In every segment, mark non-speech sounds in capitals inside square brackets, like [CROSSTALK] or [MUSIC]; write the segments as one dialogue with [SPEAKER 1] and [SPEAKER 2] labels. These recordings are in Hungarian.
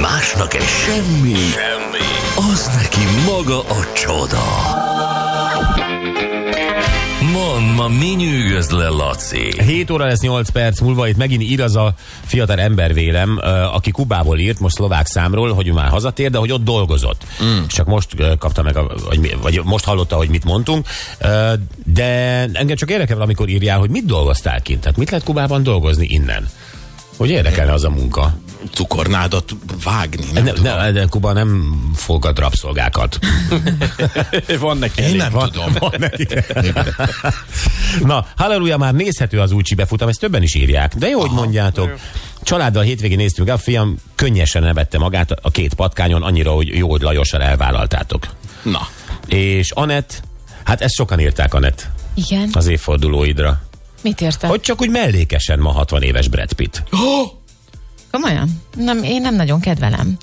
[SPEAKER 1] másnak egy semmi, semmi, az neki maga a csoda. Mond, ma mi nyűgöz le, Laci?
[SPEAKER 2] 7 óra lesz 8 perc múlva, itt megint ír az a fiatal ember vélem, ö, aki Kubából írt, most szlovák számról, hogy ő már hazatér, de hogy ott dolgozott. Mm. Csak most ö, kapta meg, a, vagy, mi- vagy most hallotta, hogy mit mondtunk, Ö, de engem csak érdekel, amikor írjál, hogy mit dolgoztál kint, tehát mit lehet Kubában dolgozni innen. Hogy érdekelne az a munka.
[SPEAKER 3] Cukornádat vágni. Nem,
[SPEAKER 2] Ne,
[SPEAKER 3] nem,
[SPEAKER 2] ne, de Kuba nem fogad rabszolgákat.
[SPEAKER 4] [LAUGHS] Van neki
[SPEAKER 3] én
[SPEAKER 4] elég.
[SPEAKER 3] nem
[SPEAKER 2] [LAUGHS] van-
[SPEAKER 3] tudom. Van
[SPEAKER 2] Na, halleluja, már nézhető az új befutam, ezt többen is írják. De jó, hogy mondjátok. Családdal hétvégén néztünk, a fiam könnyesen nevette magát a két patkányon, annyira, hogy jó, hogy Lajossal elvállaltátok.
[SPEAKER 3] Na,
[SPEAKER 2] És Anett, hát ezt sokan írták Anett
[SPEAKER 5] Igen?
[SPEAKER 2] az évfordulóidra.
[SPEAKER 5] Mit értem?
[SPEAKER 2] Hát, Hogy csak úgy mellékesen ma 60 éves Brad Pitt.
[SPEAKER 5] Komolyan? Nem, én nem nagyon kedvelem.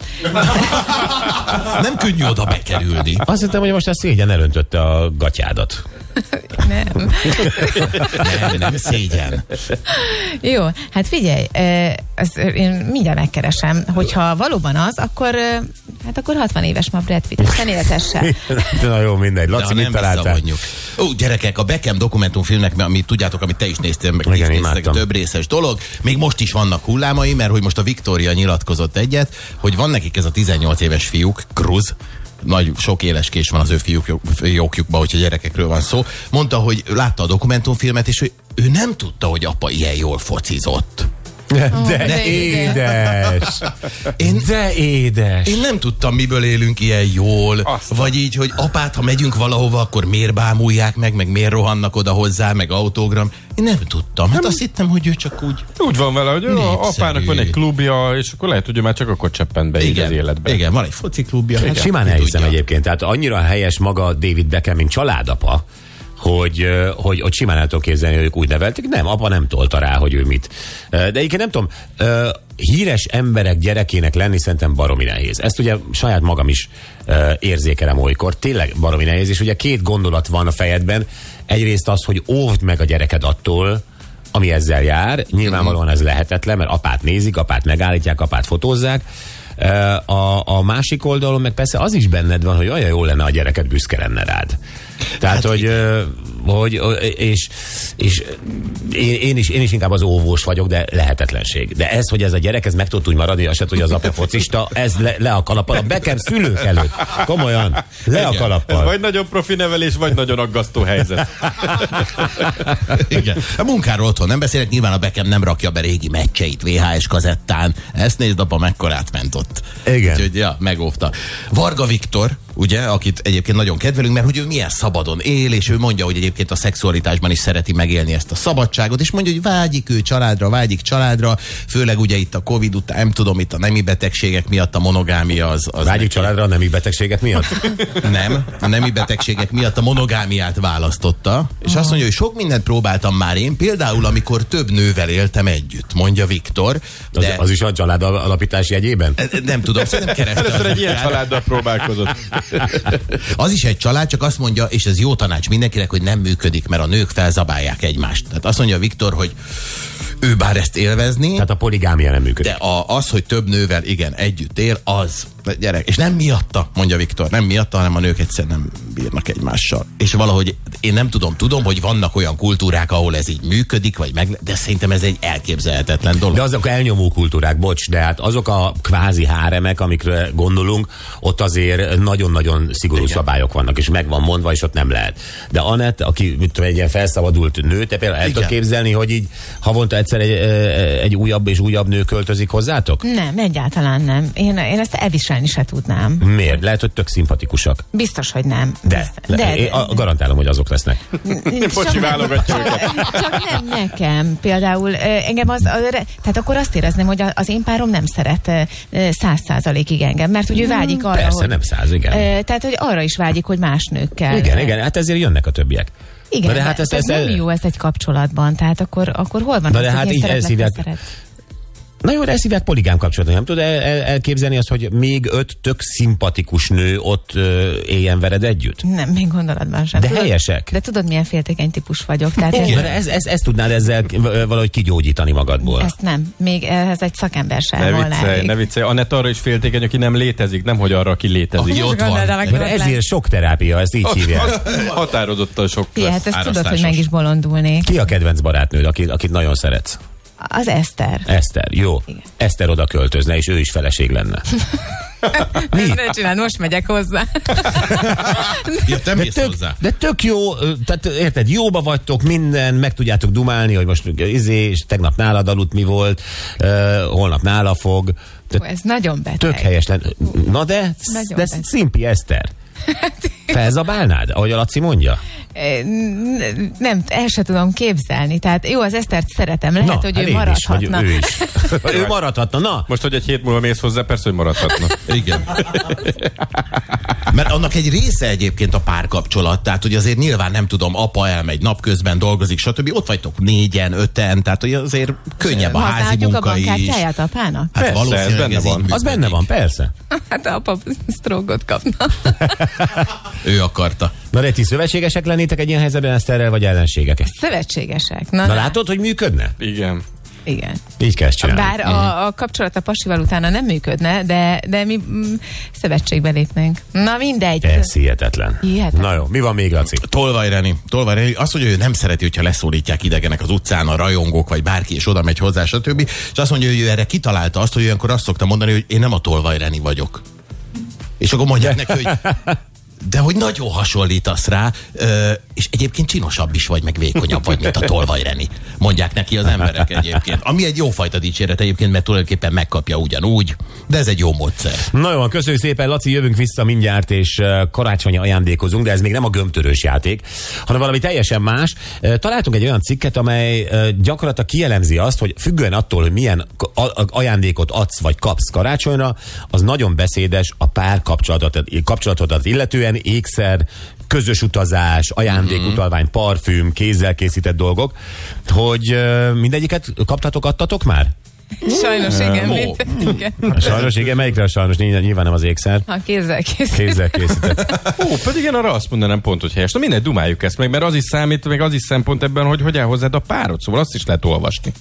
[SPEAKER 3] nem könnyű oda bekerülni.
[SPEAKER 2] Azt hittem, hogy most a szégyen elöntötte a gatyádat.
[SPEAKER 5] Nem.
[SPEAKER 3] Nem, nem szégyen.
[SPEAKER 5] Jó, hát figyelj, eh, ezt én mindjárt megkeresem, hogyha valóban az, akkor eh, hát akkor 60 éves ma
[SPEAKER 2] [LAUGHS]
[SPEAKER 5] Brad Pitt, aztán éltesse.
[SPEAKER 2] De Na jó, mindegy.
[SPEAKER 3] De ha
[SPEAKER 2] Laci, mit
[SPEAKER 3] nem
[SPEAKER 2] találtál?
[SPEAKER 3] visszavonjuk. Ó, gyerekek, a Beckham dokumentumfilmnek, amit tudjátok, amit te is néztél, meg ti is
[SPEAKER 2] Igen,
[SPEAKER 3] néztek,
[SPEAKER 2] imádtam.
[SPEAKER 3] több részes dolog. Még most is vannak hullámai, mert hogy most a Viktória nyilatkozott egyet, hogy van nekik ez a 18 éves fiúk, Cruz, nagy sok éles kés van az ő fiúk, fiúkjukban, hogyha gyerekekről van szó. Mondta, hogy látta a dokumentumfilmet, és ő, ő nem tudta, hogy apa ilyen jól focizott.
[SPEAKER 2] De,
[SPEAKER 5] de
[SPEAKER 2] édes!
[SPEAKER 3] Én-
[SPEAKER 2] De édes!
[SPEAKER 3] Én nem tudtam, miből élünk ilyen jól.
[SPEAKER 4] Aztán.
[SPEAKER 3] Vagy így, hogy apát, ha megyünk valahova, akkor miért bámulják meg, meg miért rohannak oda hozzá, meg autogram. Én nem tudtam. Hát azt hittem, hogy ő csak úgy...
[SPEAKER 4] Úgy van vele, hogy a
[SPEAKER 3] Népszerű.
[SPEAKER 4] apának van egy klubja, és akkor lehet, hogy ő már csak akkor cseppent be így az életbe.
[SPEAKER 3] igen, van egy fociklubja.
[SPEAKER 2] Hát simán
[SPEAKER 3] ki
[SPEAKER 2] elhiszem
[SPEAKER 3] tudja.
[SPEAKER 2] egyébként. Tehát annyira helyes maga David Beckham, mint családapa, hogy, ö, hogy, hogy simán el tudom képzelni, hogy ők úgy nevelték. Nem, apa nem tolta rá, hogy ő mit. Ö, De egyébként nem tudom, ö, híres emberek gyerekének lenni szerintem baromi nehéz. Ezt ugye saját magam is ö, érzékelem olykor. Tényleg baromi nehéz, és ugye két gondolat van a fejedben. Egyrészt az, hogy óvd meg a gyereked attól, ami ezzel jár. Nyilvánvalóan ez lehetetlen, mert apát nézik, apát megállítják, apát fotózzák. Ö, A, a másik oldalon meg persze az is benned van, hogy olyan jó lenne a gyereket büszke lenne rád. Tehát, hát hogy, ö, hogy ö, és, és én, én, is, én is inkább az óvós vagyok, de lehetetlenség. De ez, hogy ez a gyerek, ez meg tud úgy maradni, azt hogy az apa focista, ez le, le a kalappal. A Beckham szülők előtt. Komolyan. Le a
[SPEAKER 3] Igen,
[SPEAKER 4] Ez
[SPEAKER 2] kalappal.
[SPEAKER 4] vagy nagyon profi nevelés, vagy nagyon aggasztó helyzet.
[SPEAKER 3] [LAUGHS] Igen. A munkáról otthon nem beszélek, nyilván a Beckham nem rakja be régi meccseit VHS kazettán. Ezt nézd, apa mekkorát ment ott.
[SPEAKER 2] Igen.
[SPEAKER 3] Úgyhogy, ja, megóvta. Varga Viktor, ugye, akit egyébként nagyon kedvelünk, mert hogy ő milyen szabadon él, és ő mondja, hogy egyébként a szexualitásban is szereti megélni ezt a szabadságot, és mondja, hogy vágyik ő családra, vágyik családra, főleg ugye itt a Covid után, nem tudom, itt a nemi betegségek miatt a monogámia az... az
[SPEAKER 2] Vágyik
[SPEAKER 3] neki-
[SPEAKER 2] családra a nemi betegségek miatt?
[SPEAKER 3] nem, a nemi betegségek miatt a monogámiát választotta, és azt mondja, hogy sok mindent próbáltam már én, például amikor több nővel éltem együtt, mondja Viktor,
[SPEAKER 2] Az,
[SPEAKER 3] de e,
[SPEAKER 2] az is a család al- alapítás jegyében?
[SPEAKER 3] nem tudom, szerintem kereste
[SPEAKER 4] Először
[SPEAKER 3] az
[SPEAKER 4] egy ilyen
[SPEAKER 3] apját.
[SPEAKER 4] családdal próbálkozott.
[SPEAKER 3] Az is egy család, csak azt mondja, és ez jó tanács mindenkinek, hogy nem működik, mert a nők felzabálják egymást. Tehát azt mondja Viktor, hogy ő bár ezt élvezni,
[SPEAKER 2] Tehát a poligámia nem működik.
[SPEAKER 3] de a, az, hogy több nővel igen együtt él, az Na, gyerek. És nem miatta, mondja Viktor, nem miatta, hanem a nők egyszerűen nem bírnak egymással. És valahogy én nem tudom, tudom, hogy vannak olyan kultúrák, ahol ez így működik, vagy meg, de szerintem ez egy elképzelhetetlen dolog.
[SPEAKER 2] De azok elnyomó kultúrák, bocs, de hát azok a kvázi háremek, amikre gondolunk, ott azért nagyon-nagyon szigorú Igen. szabályok vannak, és meg van mondva, és ott nem lehet. De Anett, aki mit tudom, egy ilyen felszabadult nő, te például el
[SPEAKER 3] Igen.
[SPEAKER 2] tudod képzelni, hogy így havonta egyszer egy, ö, egy újabb és újabb nő költözik hozzátok?
[SPEAKER 5] Nem, egyáltalán nem. Én, én ezt elviselni se tudnám.
[SPEAKER 2] Miért? Lehet, hogy tök szimpatikusak.
[SPEAKER 5] Biztos, hogy nem.
[SPEAKER 2] De, de,
[SPEAKER 5] Biztos,
[SPEAKER 2] de, én a- [LAUGHS] garantálom, hogy azok lesznek.
[SPEAKER 5] Nincs,
[SPEAKER 4] Bocsi, válogatja
[SPEAKER 5] csak, csak nem nekem. Például ö, engem az, a, re- tehát akkor azt érezném, hogy a- az én párom nem szeret ö, ö, száz százalékig engem, mert ugye ő vágyik arra,
[SPEAKER 2] Hmm, Persze,
[SPEAKER 5] hogy,
[SPEAKER 2] nem száz, igen.
[SPEAKER 5] Ö, Tehát, hogy arra is vágyik, hogy más nőkkel.
[SPEAKER 2] Igen, igen, hát ezért jönnek a többiek.
[SPEAKER 5] Igen,
[SPEAKER 2] Na de hát ezt,
[SPEAKER 5] ez
[SPEAKER 2] ezt,
[SPEAKER 5] nem jó ez egy kapcsolatban, tehát akkor, akkor hol van
[SPEAKER 2] Na
[SPEAKER 5] az,
[SPEAKER 2] de
[SPEAKER 5] hogy
[SPEAKER 2] hát
[SPEAKER 5] én
[SPEAKER 2] így
[SPEAKER 5] szeretlek,
[SPEAKER 2] ezt
[SPEAKER 5] te
[SPEAKER 2] hívják
[SPEAKER 5] szeretsz?
[SPEAKER 2] Na jó, de ezt hívják poligám kapcsolatnak. Nem tud el, el, elképzelni azt, hogy még öt tök szimpatikus nő ott ö, éljen veled együtt?
[SPEAKER 5] Nem, még gondolatban sem.
[SPEAKER 2] De helyesek.
[SPEAKER 5] De tudod, milyen féltékeny típus vagyok. Tehát
[SPEAKER 2] Igen.
[SPEAKER 5] én,
[SPEAKER 2] De ez, ez, ez tudnád ezzel ö, valahogy kigyógyítani magadból.
[SPEAKER 5] ezt nem. Még ehhez egy szakember sem
[SPEAKER 4] Ne
[SPEAKER 5] volna
[SPEAKER 4] viccelj,
[SPEAKER 5] elég.
[SPEAKER 4] ne viccelj. Anett arra is féltékeny, aki nem létezik, nem hogy arra, aki létezik.
[SPEAKER 3] Aki
[SPEAKER 5] Most
[SPEAKER 3] ott van.
[SPEAKER 5] gondolod, amikor
[SPEAKER 2] Mert
[SPEAKER 5] ott
[SPEAKER 2] ezért sok terápia, ezt így hívják.
[SPEAKER 4] Határozottan sok
[SPEAKER 5] lesz. Igen, hát ezt tudod, hogy meg
[SPEAKER 3] árasztásos.
[SPEAKER 5] is bolondulnék.
[SPEAKER 2] Ki a kedvenc barátnőd, akit, akit nagyon szeretsz?
[SPEAKER 5] Az Eszter.
[SPEAKER 2] Eszter, jó.
[SPEAKER 5] Igen.
[SPEAKER 2] Eszter oda költözne, és ő is feleség lenne.
[SPEAKER 5] [LAUGHS] Mi? Ne csináld, most megyek hozzá.
[SPEAKER 3] Ja, te
[SPEAKER 2] De
[SPEAKER 3] mész
[SPEAKER 2] tök,
[SPEAKER 3] hozzá.
[SPEAKER 2] de tök jó, ö, tehát érted, jóba vagytok, minden, meg tudjátok dumálni, hogy most ö, izé, és tegnap nálad aludt mi volt, ö, holnap nála fog.
[SPEAKER 5] Hú,
[SPEAKER 2] Tehát
[SPEAKER 5] Ez nagyon beteg.
[SPEAKER 2] tök helyes lenne. Na de,
[SPEAKER 5] Nagyon Hát-
[SPEAKER 2] de
[SPEAKER 5] beteg.
[SPEAKER 2] szimpi Eszter. Felzabálnád, ahogy a Laci mondja?
[SPEAKER 5] Ö, n- Nem, el se tudom képzelni. Tehát jó, az Esztert szeretem. Lehet, hogy
[SPEAKER 2] hát
[SPEAKER 5] ő
[SPEAKER 2] én is,
[SPEAKER 5] maradhatna.
[SPEAKER 2] hogy ő is. [LAUGHS] ő maradhatna, na.
[SPEAKER 4] Most, hogy egy hét múlva mész hozzá, persze, hogy maradhatna.
[SPEAKER 3] Igen. Mert annak egy része egyébként a párkapcsolat, tehát hogy azért nyilván nem tudom, apa elmegy napközben, dolgozik, stb. Ott vagytok négyen, öten, tehát hogy azért könnyebb a házi
[SPEAKER 5] Használhatjuk a
[SPEAKER 3] munka is.
[SPEAKER 5] bankkártyáját
[SPEAKER 3] [LAUGHS]
[SPEAKER 5] apának?
[SPEAKER 3] Hát
[SPEAKER 4] Persze,
[SPEAKER 3] valószínűleg
[SPEAKER 4] ez benne
[SPEAKER 3] ez így
[SPEAKER 4] van. Az
[SPEAKER 2] Az
[SPEAKER 3] működik.
[SPEAKER 2] benne van, persze.
[SPEAKER 5] Hát apa sztrógot kapna.
[SPEAKER 3] Ő akarta.
[SPEAKER 2] Na de ti szövetségesek lennétek egy ilyen helyzetben Eszterrel, vagy ellenségek?
[SPEAKER 5] [LAUGHS] Szövetségesek. Na,
[SPEAKER 2] Na
[SPEAKER 5] na,
[SPEAKER 2] látod, hogy működne?
[SPEAKER 4] Igen.
[SPEAKER 5] Igen.
[SPEAKER 2] Így kell ezt csinálni.
[SPEAKER 5] Bár
[SPEAKER 3] Mhm.
[SPEAKER 5] a, a kapcsolat a pasival utána nem működne, de, de mi mm, szövetségbe lépnénk. Na mindegy.
[SPEAKER 2] Ez hihetetlen.
[SPEAKER 5] Hihetetlen.
[SPEAKER 2] Na jó, mi van még, Laci?
[SPEAKER 3] Tolvaj Reni, Tolvaj Reni, azt, hogy ő nem szereti, hogyha leszólítják idegenek az utcán a rajongók, vagy bárki, és oda megy hozzá, stb. És azt mondja, hogy ő erre kitalálta azt, hogy olyankor azt szokta mondani, hogy én nem a Tolvaj Reni vagyok. És akkor mondják neki, hogy de hogy nagyon hasonlítasz rá, ö, és egyébként csinosabb is vagy, meg vékonyabb vagy, mint a Tolvaj Reni. Mondják neki az emberek egyébként. Ami egy jófajta dicséret egyébként, mert tulajdonképpen megkapja ugyanúgy, de ez egy jó módszer.
[SPEAKER 2] Na jó, köszönjük szépen, Laci, jövünk vissza mindjárt, és ö, karácsonyi ajándékozunk, de ez még nem a gömtörős játék, hanem valami teljesen más. Ö, Találtunk egy olyan cikket, amely ö, gyakorlatilag kielemzi azt, hogy függően attól, hogy milyen k- a- a- ajándékot adsz vagy kapsz karácsonyra, az nagyon beszédes a pár kapcsolatodat, kapcsolatodat illetően, ékszer, közös utazás, ajándékutalvány, parfüm, kézzel készített dolgok, hogy ö, mindegyiket kaptatok, adtatok már?
[SPEAKER 5] Sajnos igen.
[SPEAKER 3] Ó.
[SPEAKER 5] Mit, igen.
[SPEAKER 2] Sajnos, igen, melyikre a sajnos? Nyilván nyilván nem az ékszer.
[SPEAKER 5] Ha kézzel készül.
[SPEAKER 2] Kézzel készített.
[SPEAKER 4] Ó, pedig én arra azt mondanám pont, hogy helyes. Na mindegy, dumáljuk ezt meg, mert az is számít, meg az is szempont ebben, hogy hogy áll hozzád a párod. Szóval azt is lehet olvasni.